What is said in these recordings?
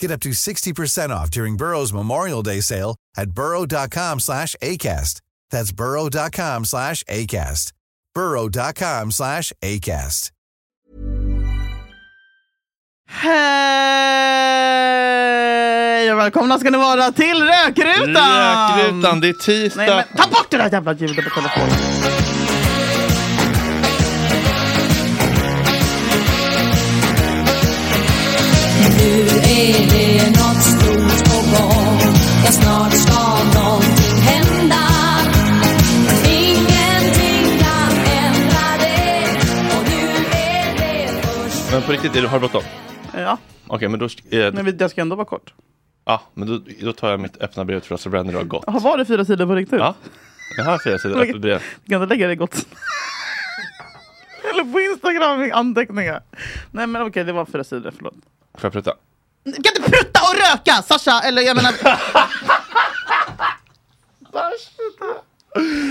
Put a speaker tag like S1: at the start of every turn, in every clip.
S1: Get up to 60% off during Burrow's Memorial Day sale at burrow.com slash ACAST. That's burrow.com slash ACAST. burrow.com slash ACAST.
S2: Hej och välkomna ska ni vara till Rökrutan!
S3: Rökrutan, det är tisdag.
S2: Nej, men, ta bort det där jävla ljudet på telefonen.
S4: Nu är det något stort på gång Ja, snart ska någonting hända Ingenting kan ändra det Och nu är det först
S3: Men på riktigt, är du- har du bråttom?
S2: Ja,
S3: Okej, men då... Eh,
S2: men vi- det ska ändå vara kort.
S3: ja, men då, då tar jag mitt öppna brev till Russell Brand idag gott.
S2: Har var det fyra sidor på riktigt?
S3: Ja, jag har fyra sidor öppet brev.
S2: Du kan inte lägga det gott. Eller på Instagram i anteckningar. Nej men okej, det var fyra sidor, förlåt.
S3: Får jag prata?
S2: Du kan inte prutta och röka Sasha! Eller jag menar...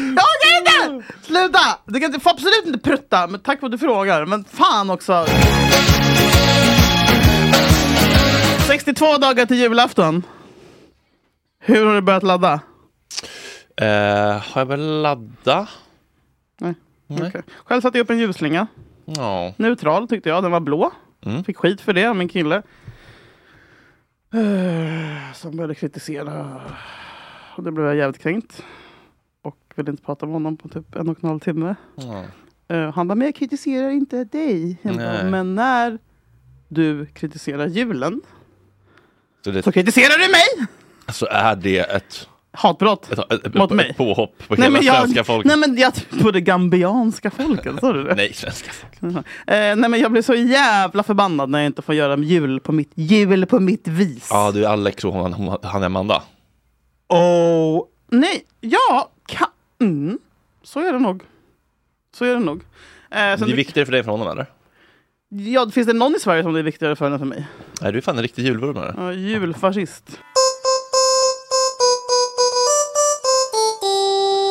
S2: Jag orkar inte! Sluta! Du kan inte, får absolut inte prutta, men tack för att du frågar. Men fan också! 62 dagar till julafton. Hur har du börjat ladda?
S3: Eh, har jag börjat ladda?
S2: Nej. Okej. Själv satte jag upp en ljusslinga.
S3: Ja.
S2: Neutral tyckte jag, den var blå.
S3: Mm.
S2: Fick skit för det av min kille. Eh, Som började kritisera. Och det blev jag jävligt kränkt. Och ville inte prata med honom på typ en och en halv timme. Eh, Han bara, men jag kritiserar inte dig. Jag bara,
S3: Nej.
S2: men när du kritiserar julen
S3: Så, det,
S2: så kritiserar du mig!
S3: så är det ett,
S2: Hatbrott.
S3: ett, ett, ett,
S2: Mot mig.
S3: ett påhopp på
S2: Nej
S3: hela
S2: men, jag,
S3: svenska folket.
S2: nej men jag på det gambianska folket, sa du det?
S3: Nej, svenska folket.
S2: Eh, nej men jag blir så jävla förbannad när jag inte får göra jul på mitt, jul på mitt vis.
S3: Ja, du är Alex och hon, hon, han är Amanda.
S2: Oh. Nej, ja, kan, mm, så är det nog. Så är det nog. Eh,
S3: Men
S2: sen,
S3: det är viktigare för dig än för honom, eller?
S2: ja, finns det någon i Sverige som det är viktigare för än för mig?
S3: Nej, du är fan en riktig julvurmare.
S2: Ja, julfascist.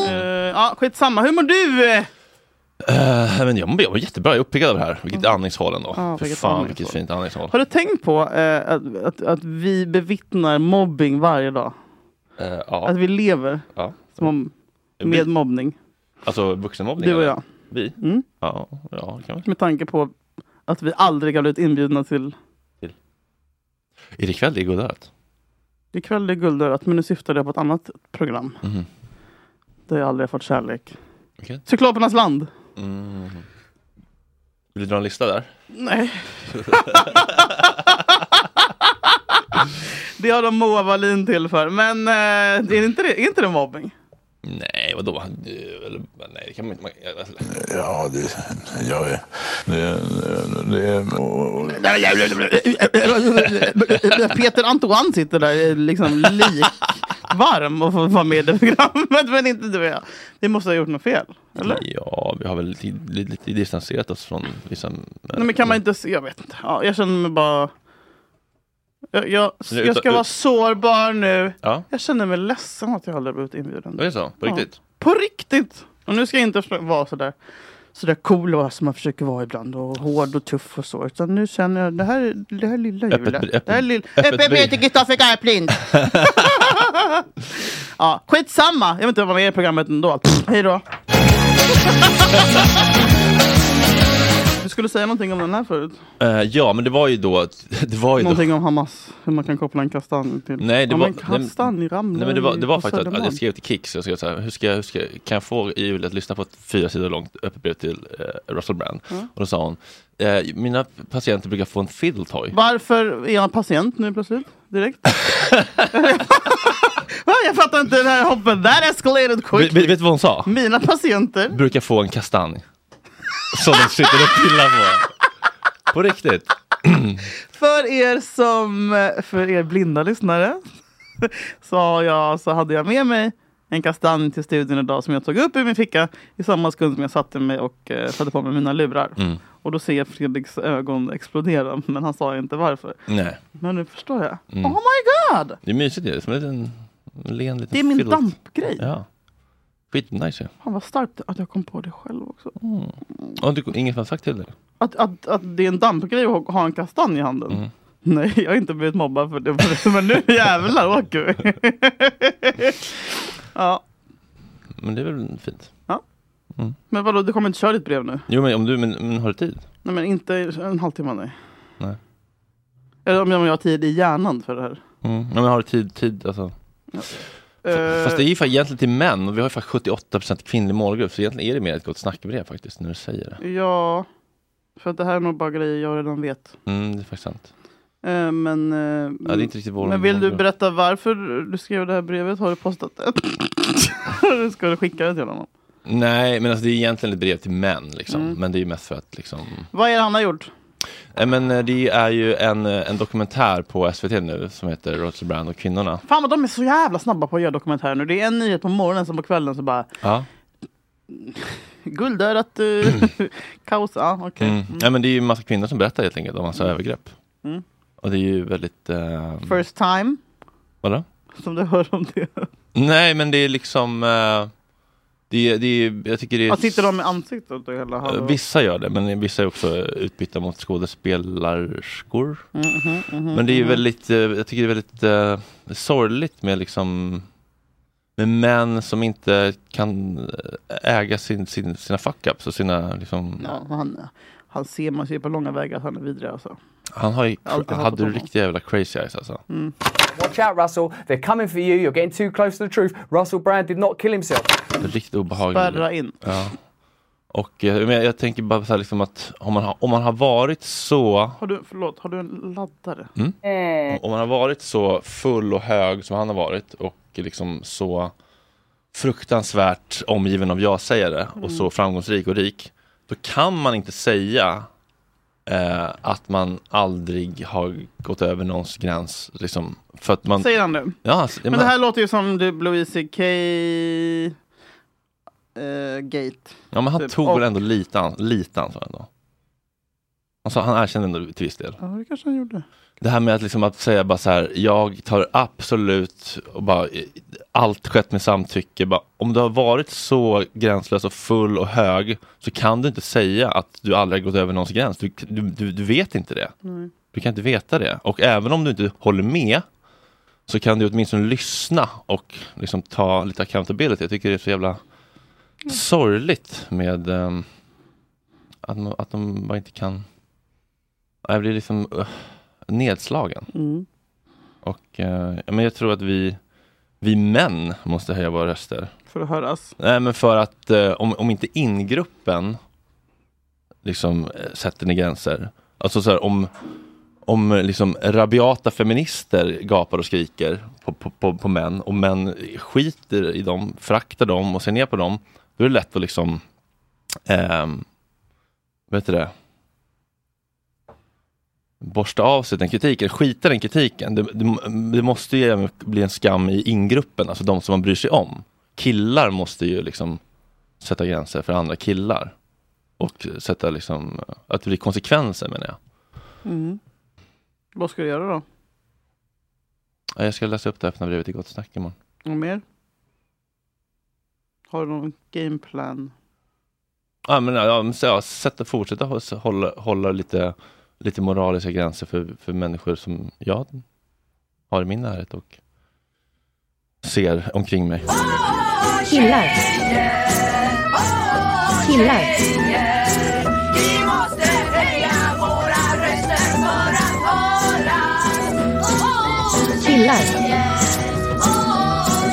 S2: Eh, ja, skitsamma. Hur mår du? eh?
S3: Nej, Eh, men jag mår jag mår jättebra, jag är uppiggad av det här. Vilket andningshål ändå.
S2: Ja,
S3: Fy
S2: vilket
S3: fan,
S2: andningshål.
S3: vilket fint andningshål.
S2: Har du tänkt på eh, att, att, att vi bevittnar mobbing varje dag?
S3: Eh,
S2: Att
S3: ja,
S2: vi lever
S3: ja.
S2: som om, med mobbning?
S3: Alltså vuxenmobbning?
S2: Du och
S3: eller?
S2: jag.
S3: Vi?
S2: Mm.
S3: Ja, ja, det kan vi.
S2: Med tanke på att vi aldrig har blivit inbjudna till...
S3: Är det kväll det är godörat?
S2: Ikväll är guldörat, men nu syftar jag på ett annat program.
S3: Mhm.
S2: Där jag aldrig har fått kärlek.
S3: Okej.
S2: Cyklopernas land.
S3: Vill du dra en lista där?
S2: Nej. det har de Moa Wallin till för. Men eh, är, inte det, är inte det mobbing?
S3: Nej, vadå? Han- eh, eller- Nej, det kan man inte. man- eh,
S2: Mm.
S3: eller-
S5: Ja, det... Ja, det... det, det
S2: Peter Antoine sitter där eh, liksom lik varm och får vara med i programmet. Men inte du och jag. Vi måste ha gjort något fel. Eller?
S3: Ja, vi har väl lite, lite, lite distanserat oss från liksom...
S2: Nej, men kan man inte... se- Jag vet inte. Ja, jag känner mig bara... Jag, jag,
S3: Nu,
S2: jag ska
S3: utan-
S2: vara sårbar nu.
S3: Ja,
S2: Jag känner mig ledsen att jag aldrig blivit inbjuden.
S3: det är så. På
S2: Ja.
S3: riktigt.
S2: På riktigt! Och nu ska jag inte försöka vara sådär sådär cool och som man försöker vara ibland och hård och tuff och så. Utan nu känner jag det här, det här lilla
S3: Öppet
S2: hjulet.
S3: br- öppet-
S2: det här lilla...
S3: öppet
S2: Öppet brev
S3: brev.
S2: till Kristoffer Garplind! ja, skitsamma! Jag vill inte vara med i programmet ändå. Hej då! skulle säga någonting om den här förut.
S3: Eh, ja, men det var ju då... Det var ju då
S2: Någonting om Hamas, hur man kan koppla en kastanj till.
S3: Nej, det
S2: ja,
S3: var-
S2: men kastanj ramlar
S3: Nej, men det var, det var
S2: på
S3: faktiskt att, att
S2: Södermalm.
S3: jag skrev till Kicks, jag skrev så här, hur ska, jag- hur ska, jag- kan jag få Julia att lyssna på ett fyra sidor långt öppet brev till eh, Russell Brand? Och då sa hon, eh, mina patienter brukar få en fiddletoy.
S2: Varför är jag patient nu plötsligt? Direkt? Va, jag fattar inte den här hoppen. That escalated
S3: Vet,
S2: quick.
S3: vet vet du vad hon sa?
S2: Mina patienter.
S3: Brukar få en kastanj. Som de sitter och pillar på. På riktigt.
S2: För er som, för er blinda lyssnare så, har jag, så hade jag med mig en kastanj till studion idag som jag tog upp ur min ficka i samma sekund som jag satte mig och eh, satte på mig mina lurar.
S3: Mm.
S2: Och då ser jag Fredriks ögon explodera men han sa ju inte varför.
S3: Nej,
S2: Men nu förstår jag.
S3: Mm.
S2: Oh my god!
S3: det är mysigt ju. Det är som en liten len liten
S2: Det är min
S3: fiddle-
S2: dampgrej.
S3: Ja. Skitnice ju.
S2: Fan vad starkt att jag kom på det själv också.
S3: Ja, du- Ingen som har sagt till dig?
S2: Att, att, att det är en dampgrej att ha en kastanj i handen.
S3: Mm.
S2: Nej, jag har inte blivit mobbad för det. Men nu jävlar åker vi. ja.
S3: Men det är väl fint.
S2: Men vadå, du kommer inte köra ditt brev nu?
S3: Jo, men, om du, men, men har du tid?
S2: Nej men inte en halvtimme nej.
S3: Nej.
S2: Eller om jag, om jag har tid i hjärnan för det här.
S3: Mm. Ja, men har du tid? tid alltså.
S2: Eh,
S3: Fast det är ju fa- egentligen till män och vi har ju faktiskt 78% kvinnlig målgrupp så egentligen är det mer ett gott snackbrev faktiskt när du säger det.
S2: Eh, Ja, för att det här är nog bara grejer jag redan vet.
S3: Mm, det är faktiskt sant.
S2: Eh, men, eh,
S3: Ja, det är inte riktigt vår
S2: men vill du
S3: målgrupp.
S2: berätta varför du skrev det här brevet? Har du postat det? Eller Ska du skicka det till honom?
S3: Nej, men alltså, det är egentligen ett brev till män liksom.
S2: Mm.
S3: Men det är ju mest för att liksom...
S2: Vad är det han har gjort?
S3: Nej, men eh, det är ju en, eh, en dokumentär på SVT nu som heter Roger Brand och kvinnorna.
S2: Fan vad de är så jävla snabba på att göra dokumentärer nu. Det är en nyhet på morgonen som på kvällen så bara
S3: Ja.
S2: guldörat, uh, kaos, ja okej.
S3: Mm. Nej, men det är ju en massa kvinnor som berättar helt enkelt om massa
S2: Mm.
S3: övergrepp. Och det är ju väldigt... Eh...
S2: First time,
S3: Vadå?
S2: som du hör om det.
S3: Nej, men det är liksom... Eh... Det, är- det är, jag tycker det är...
S2: Att sitter de med ansiktet och hela
S3: Eh,
S2: hallå?
S3: Vissa gör det, men vissa är också utbytta mot skådespelerskor. men det är ju väldigt, eh, jag tycker det är väldigt eh, sorgligt med liksom med män som inte kan eh, äga sin, sin, sina fuck-ups och sina liksom,
S2: Ja, han, han ser, man ser på långa vägar att han är vidrig alltså.
S3: Mm. Han har ju,
S2: Alltid
S3: han
S2: hatat
S3: hade ju
S2: honom.
S3: riktiga jävla crazy eyes alltså.
S6: Watch out, Russell. They're coming for you. You're getting too close to the truth. Russell Brand did not kill himself.
S3: Riktigt obehaglig.
S2: Spärra in.
S3: Ja. Och eh, men jag tänker bara så här liksom att om man, har, om man har varit så
S2: Har du, förlåt, har du en laddare?
S3: Mm.
S2: Eh.
S3: Om man har varit så full och hög som han har varit och liksom så fruktansvärt omgiven av jag säger det och
S2: Mm.
S3: så framgångsrik och rik då kan man inte säga eh, att man aldrig har gått över någons gräns liksom för att man...
S2: Säger han nu.
S3: Ja, alltså, jag
S2: Men det
S3: menar-
S2: här låter ju som du Louis CK eh, Gate.
S3: ja, men han
S2: typ,
S3: tog väl
S2: och-
S3: ändå lite, an- lite ansvar ändå. Alltså, han erkände ändå till viss del.
S2: Ja, det kanske han gjorde.
S3: Det här med att, liksom att säga bara så här, jag tar absolut och bara, eh, allt skett med samtycke. Bara, om du har varit så gränslös och full och hög så kan du inte säga att du aldrig har gått över någons gräns. Du, du, du, du vet inte det. Du kan inte veta det. Och även om du inte håller med så kan du åtminstone lyssna och liksom ta lite accountability. Jag tycker det är så jävla sorgligt med ehm, att, man- att de bara inte kan... Jag blir liksom ugh, nedslagen.
S2: Mm.
S3: Och, eh, ja, men jag tror att vi, vi män måste höja våra röster.
S2: För att höras.
S3: Nej, men för att eh, om, om inte ingruppen liksom eh, sätter ner gränser. Alltså så här, om, om eh, liksom rabiata feminister gapar och skriker på, på, på, på män och män skiter i dem, fraktar dem och ser ner på dem. Då är det lätt att liksom, ehm, vet du det? borsta av sig den kritiken, skita i den kritiken. Det, det, det måste ju även bli en skam i ingruppen, alltså de som man bryr sig om. Killar måste ju liksom sätta gränser för andra killar. Och sätta liksom, att det blir konsekvenser menar jag.
S2: Mm. Vad ska du göra då?
S3: Ja, Jag ska läsa upp det öppna brevet i Gott Snack imorgon.
S2: Något mer? Har du någon gameplan?
S3: Ja, men, ja, men, så, ja, sätta, fortsätta hå- hålla, hålla lite, lite moraliska gränser för, för människor som jag har i min närhet och ser omkring mig.
S7: Killar. Killar.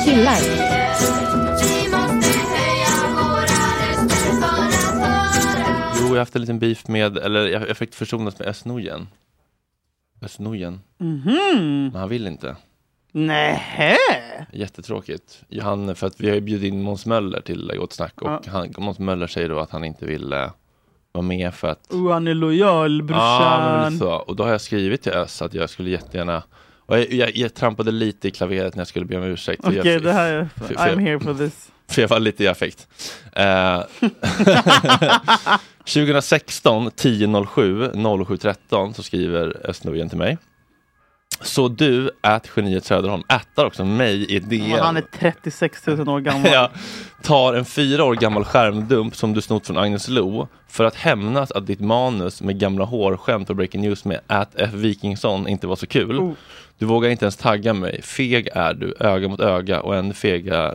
S7: gillar.
S3: Jo, jag har haft en liten beef med, eller jag, jag fick försonas med Özz-Nujen. Özz-Nujen. Men han vill inte.
S2: Nej.
S3: Jättetråkigt. Han, för att vi har ju bjudit in Måns Möller till Gott Snack och han, Måns Möller säger då att han inte ville vara med för att
S2: Oh, han är lojal
S3: Ja, men väl
S2: brorsan.
S3: så. Och då har jag skrivit till Özz att jag skulle jättegärna och jag, jag, jag trampade lite i klaveret när jag skulle be om ursäkt. för
S2: Okej,
S3: jag-
S2: det här är...
S3: för- för jag-
S2: I'm here for this.
S3: För jag var lite i affekt. Eh, 2016 10.07 07.13 så skriver Östnorgen till mig. Så du, at geniet Söderholm, attar också mig i
S2: Men han är
S3: DM.
S2: 36 000 år gammal.
S3: Ja, tar en fyra år gammal skärmdump som du snott från Agnes Lo för att hämnas att ditt manus med gamla hårskämt på Breaking News med at F. Wikingsson inte var så kul.
S2: Oh.
S3: Du vågar inte ens tagga mig. Feg är du, öga mot öga och ännu fegare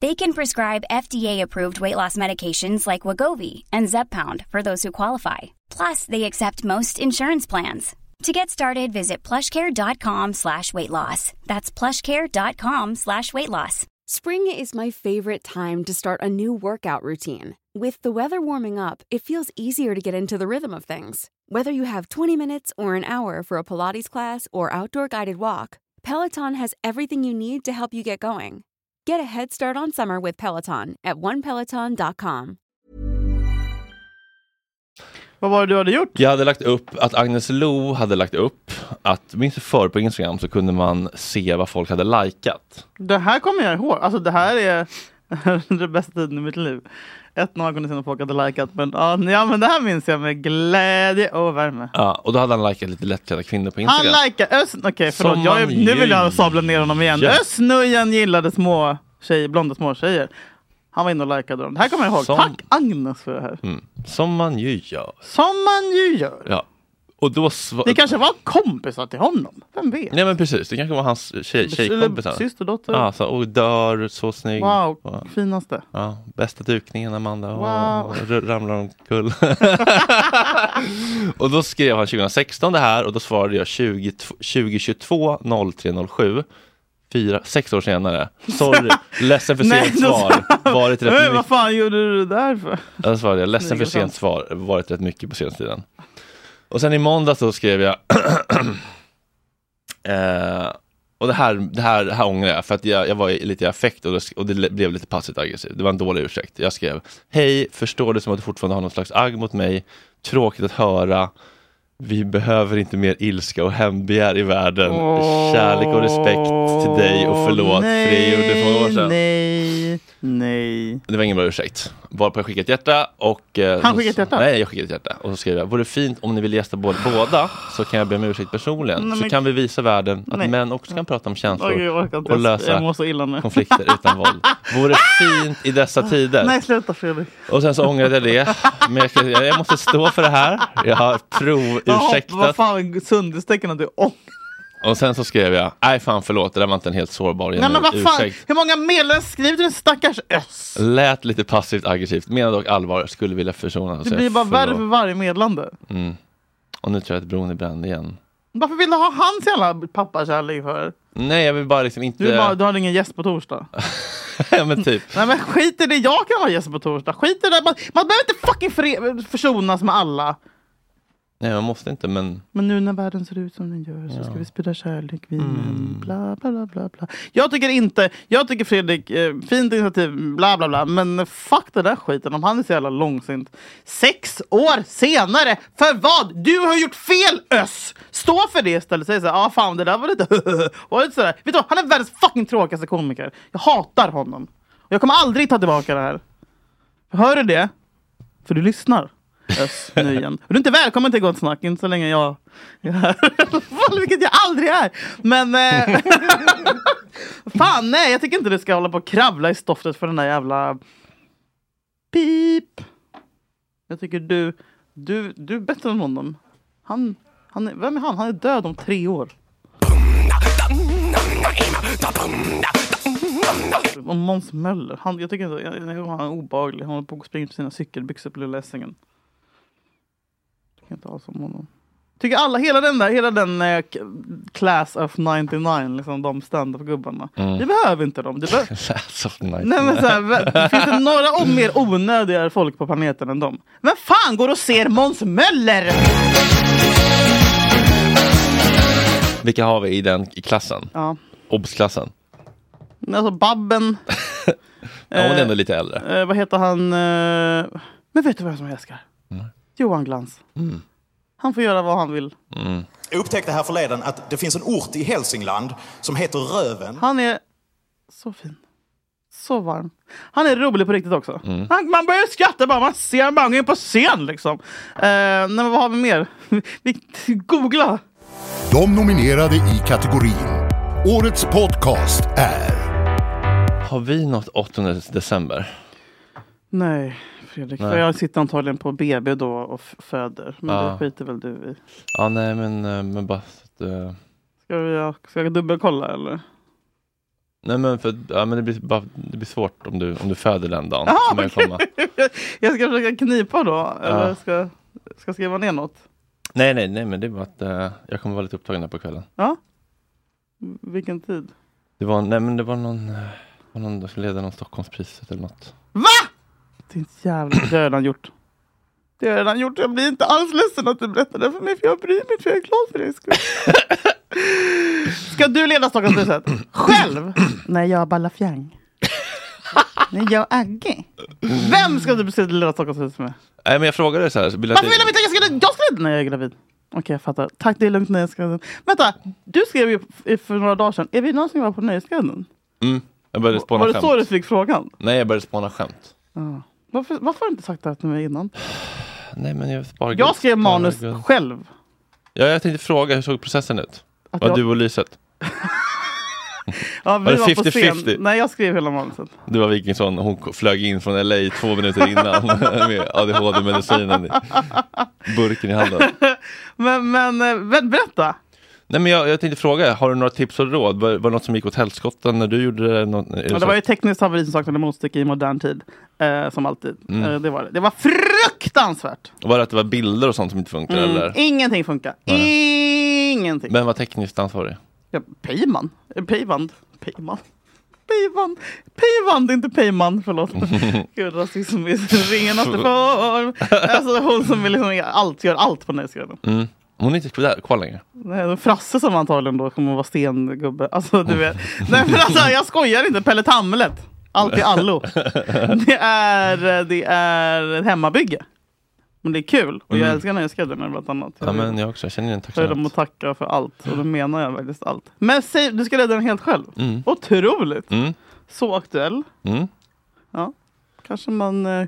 S8: They can prescribe FDA-approved weight loss medications like Wagovi and Zepbound for those who qualify. Plus, they accept most insurance plans. To get started, visit plushcare.com slash weight loss. That's plushcare.com slash weight loss.
S9: Spring is my favorite time to start a new workout routine. With the weather warming up, it feels easier to get into the rhythm of things. Whether you have 20 minutes or an hour for a Pilates class or outdoor guided walk, Peloton has everything you need to help you get going. Get a head start on summer with Peloton at onepeloton.com.
S2: Vad var det du hade gjort?
S3: Jag hade lagt upp att Agnes Lo hade lagt upp att, minns du förr på Instagram så kunde man se vad folk hade likat.
S2: Det här kommer jag ihåg. Alltså det här är det bästa tiden i mitt liv. Ett några gånger sedan folk hade likat. Men, ja, ja, men det här minns jag med glädje och värme.
S3: Ja, och då hade han likat lite lättklädda kvinnor på Instagram.
S2: Han likar Özz... Okej, förlåt.
S3: Som
S2: Jag, är-
S3: man
S2: nu vill
S3: gör.
S2: jag sabla ner honom igen.
S3: Ja.
S2: Özz-Nujen gillade små tjejer, blonda små tjejer. Han var inne och likade dem. Det här kommer jag ihåg.
S3: Som-
S2: Tack Agnes för det här.
S3: Mm. Som man ju gör.
S2: Som man ju gör.
S3: Ja. Och då sva-
S2: Ni kanske var kompisar till honom? Vem vet?
S3: Nej Ah, men precis, det kanske var hans tjej, tjejkompis.
S2: Eller systerdotter.
S3: Ja, så, och dör, så snygg.
S2: Wow,
S3: Ja.
S2: finaste.
S3: Ja, bästa dukningen Amanda.
S2: Wow.
S3: Wow. Ramlar omkull. och då skrev han 2016 det här och då svarade jag 20, 2022 0307. Fyra, sex år senare. Sorry, ledsen för
S2: Nej,
S3: sent
S2: då
S3: svar. Varit rätt
S2: Men
S3: mycket.
S2: Äh, vad fan gjorde du det där för?
S3: Ja, Då svarade jag ledsen för
S2: Intressant.
S3: sent svar, varit rätt mycket på senaste tiden. Och sen i måndag så skrev jag eh, Och det här, det, här, det här ångrar jag, för att jag, jag var i- lite i affekt och, då, sk- och det le- blev lite passivt aggressivt. Det var en dålig ursäkt. Jag skrev Hej, förstår det som att du fortfarande har någon slags agg mot mig. Tråkigt att höra. Vi behöver inte mer ilska och hämndbegär i världen. Kärlek och respekt till dig och förlåt för det jag gjorde för några år sedan.
S2: Nej, nej.
S3: Det var ingen bra ursäkt. Varpå jag skickade ett hjärta och... eh,
S2: Han skickade ett hjärta?
S3: Nej, jag skickade ett hjärta. Och så skrev jag, vore fint om ni vill gästa båda, båda så kan jag be om ursäkt personligen.
S2: Nej,
S3: så
S2: men-
S3: kan vi visa världen att
S2: Nej.
S3: män också kan prata om känslor
S2: Åh, gud, jag orkar inte.
S3: och
S2: Jag
S3: lösa
S2: mår så illa nu.
S3: konflikter utan våld. Vore fint i dessa tider.
S2: Nej, sluta Fredrik.
S3: Och sen så ångrade jag det. Men jag, kan- jag måste stå för det här. Jag har
S2: Jag hopp- Vad
S3: provursäktat.
S2: fan, sundestecken att du ångrar
S3: Och sen så skrev jag, nej fan förlåt, det där var inte en helt sårbar
S2: Nej men
S3: genuin
S2: vad fan,
S3: ursäkt.
S2: hur många meddelanden skriver du den stackars S?
S3: Lät lite passivt aggressivt, menade dock allvar, skulle vilja försona.
S2: Det blir
S3: Alltså,
S2: bara värre för varje meddelande.
S3: Mm. Och nu tror jag att bron är bränd igen.
S2: Varför vill du ha hans jävla pappakärlek för?
S3: Nej, jag vill bara liksom inte...
S2: Du, är bara, du har ingen gäst på torsdag.
S3: ja, men typ.
S2: Nej men skit i det, jag kan vara gäst på torsdag. Skit i det, man, man behöver inte fucking fre- försonas med alla.
S3: Nej, man måste inte, men
S2: Men nu när världen ser ut som den gör så ska vi sprida kärlek, vi män,
S3: Mm.
S2: bla bla bla bla bla. Jag tycker inte, jag tycker Fredrik, eh, fint initiativ, bla bla bla. Men fuck den där skiten om han är så jävla långsint. Sex år senare, för vad? Du har gjort fel öss! Stå för det istället, säg såhär, ja ah, fan det där var lite, var lite sådär. Vet du vad? han är världens fucking tråkigaste komiker. Jag hatar honom. Och jag kommer aldrig ta tillbaka det här. Hör du det? För du lyssnar. Öss, nu igen. Du är inte välkommen till Gott Snack, inte så länge jag är här. Fan, Vilket jag aldrig är! Men... Eh, fan nej, jag tycker inte du ska hålla på och kravla i stoftet för den där jävla... Pip! Jag tycker du, du, du är bättre än honom. Han, han, är- vem är han? Han är död om tre år. Och Måns Möller, han, jag tycker inte, jag, jag, tycker han är obehaglig. Han håller på och springer på sina cykelbyxor på Lilla Essingen. Tycker inte alls om honom. Tycker alla, hela den där, hela den eh, k- class of 99, liksom de standup-gubbarna.
S3: Mm.
S2: Vi behöver inte dem. Det be-
S3: Class of night.
S2: Nej, men så här, vä- finns det några o- mer onödigare folk på planeten än dem? Vem fan går och ser Måns Möller?
S3: Vilka har vi i den i klassen?
S2: Ja.
S3: Obs-klassen.
S2: Alltså Babben.
S3: Ja, hon är
S2: Eh,
S3: ändå lite äldre.
S2: Eh, vad heter han? Eh, men vet du vem som jag älskar? Johan Glans.
S3: Mm.
S2: Han får göra vad han vill.
S7: Jag upptäckte här förleden att det finns en ort i Hälsingland som heter Röven.
S2: Han är så fin. Så varm. Han är rolig på riktigt också.
S3: Mm.
S2: Han, man börjar skratta bara man ser honom bara gå in på scen liksom. Eh, nej, men vad har vi mer? vi, googla!
S10: De nominerade i kategorin Årets podcast är
S3: Har vi något 8 december?
S2: Nej, Fredrik.
S3: Nej.
S2: För jag sitter antagligen på BB då och f- föder. Men
S3: Ja.
S2: det skiter väl du i.
S3: Ja, nej, men, eh, men bara så att, eh,
S2: Ska, vi, ska jag dubbelkolla eller?
S3: Nej, men för att- ja, men det blir, bara, det blir svårt om du, om du föder den dagen.
S2: Jaha,
S3: som jag
S2: okej.
S3: kommer.
S2: jag ska försöka knipa då. Eller
S3: Ja.
S2: ska, ska jag skriva ner något?
S3: Nej, nej, nej, men det var att eh, jag kommer vara lite upptagen här på kvällen.
S2: Ja. M- Vilken tid?
S3: Det var, nej, men det var någon, eh, var någon som ledde någon Stockholmspriset eller något.
S2: Din jävla... Det har jag redan gjort. Det har jag redan gjort. Jag blir inte alls ledsen att du berättar det för mig. För jag bryr mig. För jag är glad för din skull. Ska du leda Stockholmspriset? Själv? Nej, jag är Balafjang. Nej, jag är Agge. Vem ska du leda Stockholmspriset med?
S3: Nej, men jag frågade så här. Så vill jag att
S2: Varför vill de inte att jag ska... Jag ska inte när jag är gravid. Okej, jag fattar. Tack, det är lugnt. Nöjesguiden. Vänta, du skrev ju f- för några dagar sedan. Är vi någon som var på Nöjesguiden?
S3: Mm, jag började spåna
S2: Var det
S3: skämt.
S2: så du fick frågan?
S3: Nej, jag började spåna skämt.
S2: Ja. Varför, varför har du inte sagt det här till mig innan?
S3: Nej, men jag bara
S2: Jag skrev manus själv.
S3: Ja, jag tänkte fråga, hur såg processen ut?
S2: Att
S3: Var
S2: jag-
S3: du och Lyset?
S2: Ja,
S3: Var det
S2: på scen.
S3: 50-50?
S2: Nej, jag skrev hela manuset.
S3: Det var Wikingsson, hon k- flög in från LA två minuter innan med ADHD-medicinen i burken i handen.
S2: Men, men eh, ber- berätta.
S3: Nej men jag, jag tänkte fråga, har du några tips och råd? Var, var det något som gick åt helskotta när du gjorde det? Något, är
S2: Ja,
S3: så-
S2: det var ju tekniskt haveri som saknade motstycke i modern tid. Eh, som alltid.
S3: Mm.
S2: Eh, det, var det. det var fruktansvärt.
S3: var det att det var bilder och sånt som inte funkar
S2: Mm,
S3: eller?
S2: Ingenting funkar. Ingenting.
S3: Vem var tekniskt ansvarig?
S2: Ja, Peyman. Eh, Peyvand. Peyman. Peyvand. Peyvand, inte Peyman. Förlåt. Gud, rasism i sin renaste form. Alltså hon som vill liksom göra allt, gör allt på Nöjesguiden.
S3: Mm. Hon är inte kvar, kvar längre.
S2: Nej, det är Frasse som antagligen då kommer att vara stengubbe. Alltså du vet. Nej men alltså jag skojar inte. Pelle Tamlet. Allt i allo. Det är, det är ett hemmabygge. Men det är kul. Och jag
S3: Mm.
S2: älskar Nöjesguiden bland annat.
S3: Ja men jag också, jag känner igen tack så
S2: För dem
S3: mycket.
S2: att tacka för allt. Och då menar jag faktiskt allt. Men säg, du ska rädda den helt själv.
S3: Mm.
S2: Otroligt.
S3: Mm.
S2: Så aktuell.
S3: Mm.
S2: Ja. Kanske man... eh,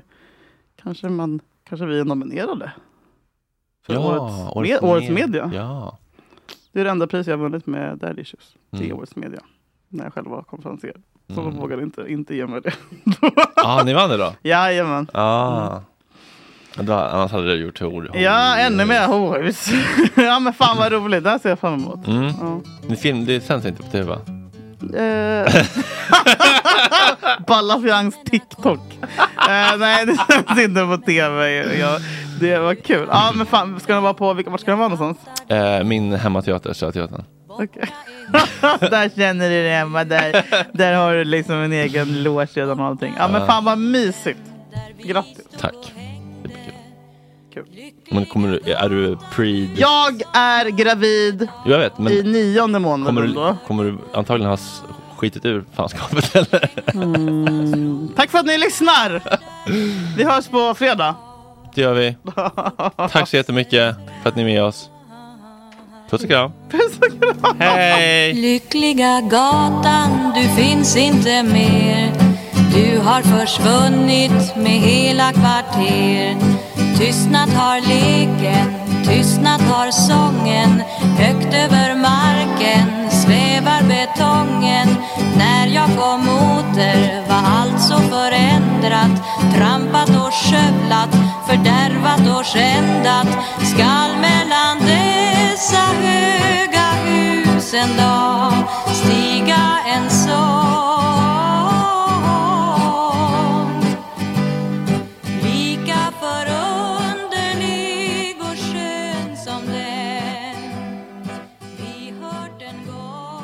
S2: Kanske man... Kanske vi är nominerade. För årets, med, årets
S3: med-
S2: media.
S3: Ja.
S2: Det är det enda pris jag har vunnit med Daddy Issues. Det är
S3: Mm.
S2: årets media. När jag själv var konferenser. Så
S3: Mm.
S2: de vågade inte, inte ge mig det.
S3: ah, ni vann idag?
S2: Jajamän.
S3: Ah. Ja, då- Annars hade du gjort hor. hor-
S2: Mm. Ja, ännu mer horhus. ja, men fan vad roligt. Det här ser jag fram emot.
S3: Mm.
S2: Ja.
S3: Ni film, det sänds inte på tv va?
S2: Eh. Ballafiangs TikTok. Eh, nej, det sänds inte på tv. Jag, det var kul. Ja, men fan, ska den vara på, vilka- vart ska den vara någonstans?
S3: Eh, min hemmateater, Söteatern.
S2: Okej. där känner du dig hemma. Där, där har du liksom en egen loge redan och allting. Ja, men
S3: Ja.
S2: fan vad mysigt. Grattis.
S3: Tack.
S2: Kul.
S3: Men kommer du, är du pre...
S2: Jag är gravid
S3: Jag vet, men
S2: i nionde månaden
S3: kommer du,
S2: då.
S3: kommer du antagligen ha s- skitit ur fanskapet eller?
S2: Mm. Tack för att ni lyssnar! Vi hörs på fredag.
S3: Det gör vi. Tack så jättemycket för att ni är med oss. Puss och kram. Hej!
S4: Lyckliga gatan, du finns inte mer. Du har försvunnit med hela kvarter. Tystnad har leken, tystnad har sången. Högt över marken svävar betongen. När jag kom åter var allt så förändrat. Trampat och skövlat, fördärvat och skändat. Skall mellan dessa höga hus en dag stiga en sång Lika förunderlig och skön som den vi hört en gång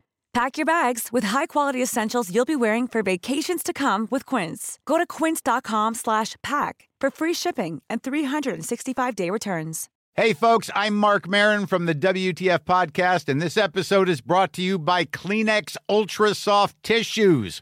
S11: Pack your bags with high-quality essentials you'll be wearing for vacations to come with Quince. Go to quince.com slash pack for free shipping and 365-day returns.
S1: Hey, folks, I'm Mark Marin from the WTF Podcast, and this episode is brought to you by Kleenex Ultra Soft Tissues,